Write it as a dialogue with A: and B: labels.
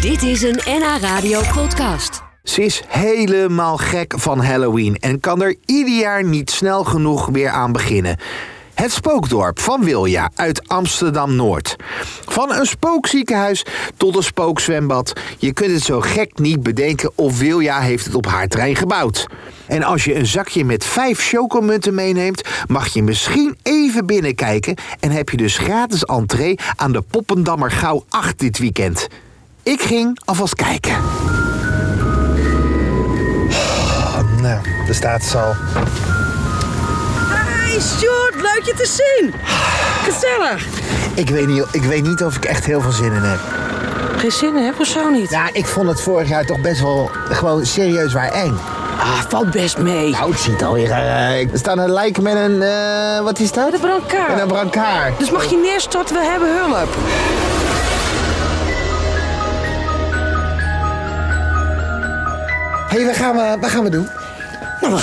A: Dit is een NH Radio podcast.
B: Ze is helemaal gek van Halloween en kan er ieder jaar niet snel genoeg weer aan beginnen. Het spookdorp van Wilja uit Amsterdam-Noord. Van een spookziekenhuis tot een spookzwembad. Je kunt het zo gek niet bedenken of Wilja heeft het op haar terrein gebouwd. En als je een zakje met vijf chocomunten meeneemt... mag je misschien even binnenkijken... en heb je dus gratis entree aan de Poppendammer Gauw 8 dit weekend. Ik ging alvast kijken.
C: Nou, de staat al.
D: Hey Sjoerd, leuk je te zien. Gezellig.
C: Ik weet, niet, ik weet niet of ik echt heel veel zin in heb.
D: Geen zin in, hè? Hoezo niet?
C: Nou, ik vond het vorig jaar toch best wel gewoon serieus waar eng.
D: Ah, valt best mee.
C: Nou, het ziet alweer. eh, er staan een lijk met een. eh, wat is dat?
D: Met een brancard.
C: Met een brancard.
D: Dus mag je neerstorten, we hebben hulp.
C: Hé, hey, wat, gaan we- wat gaan we doen?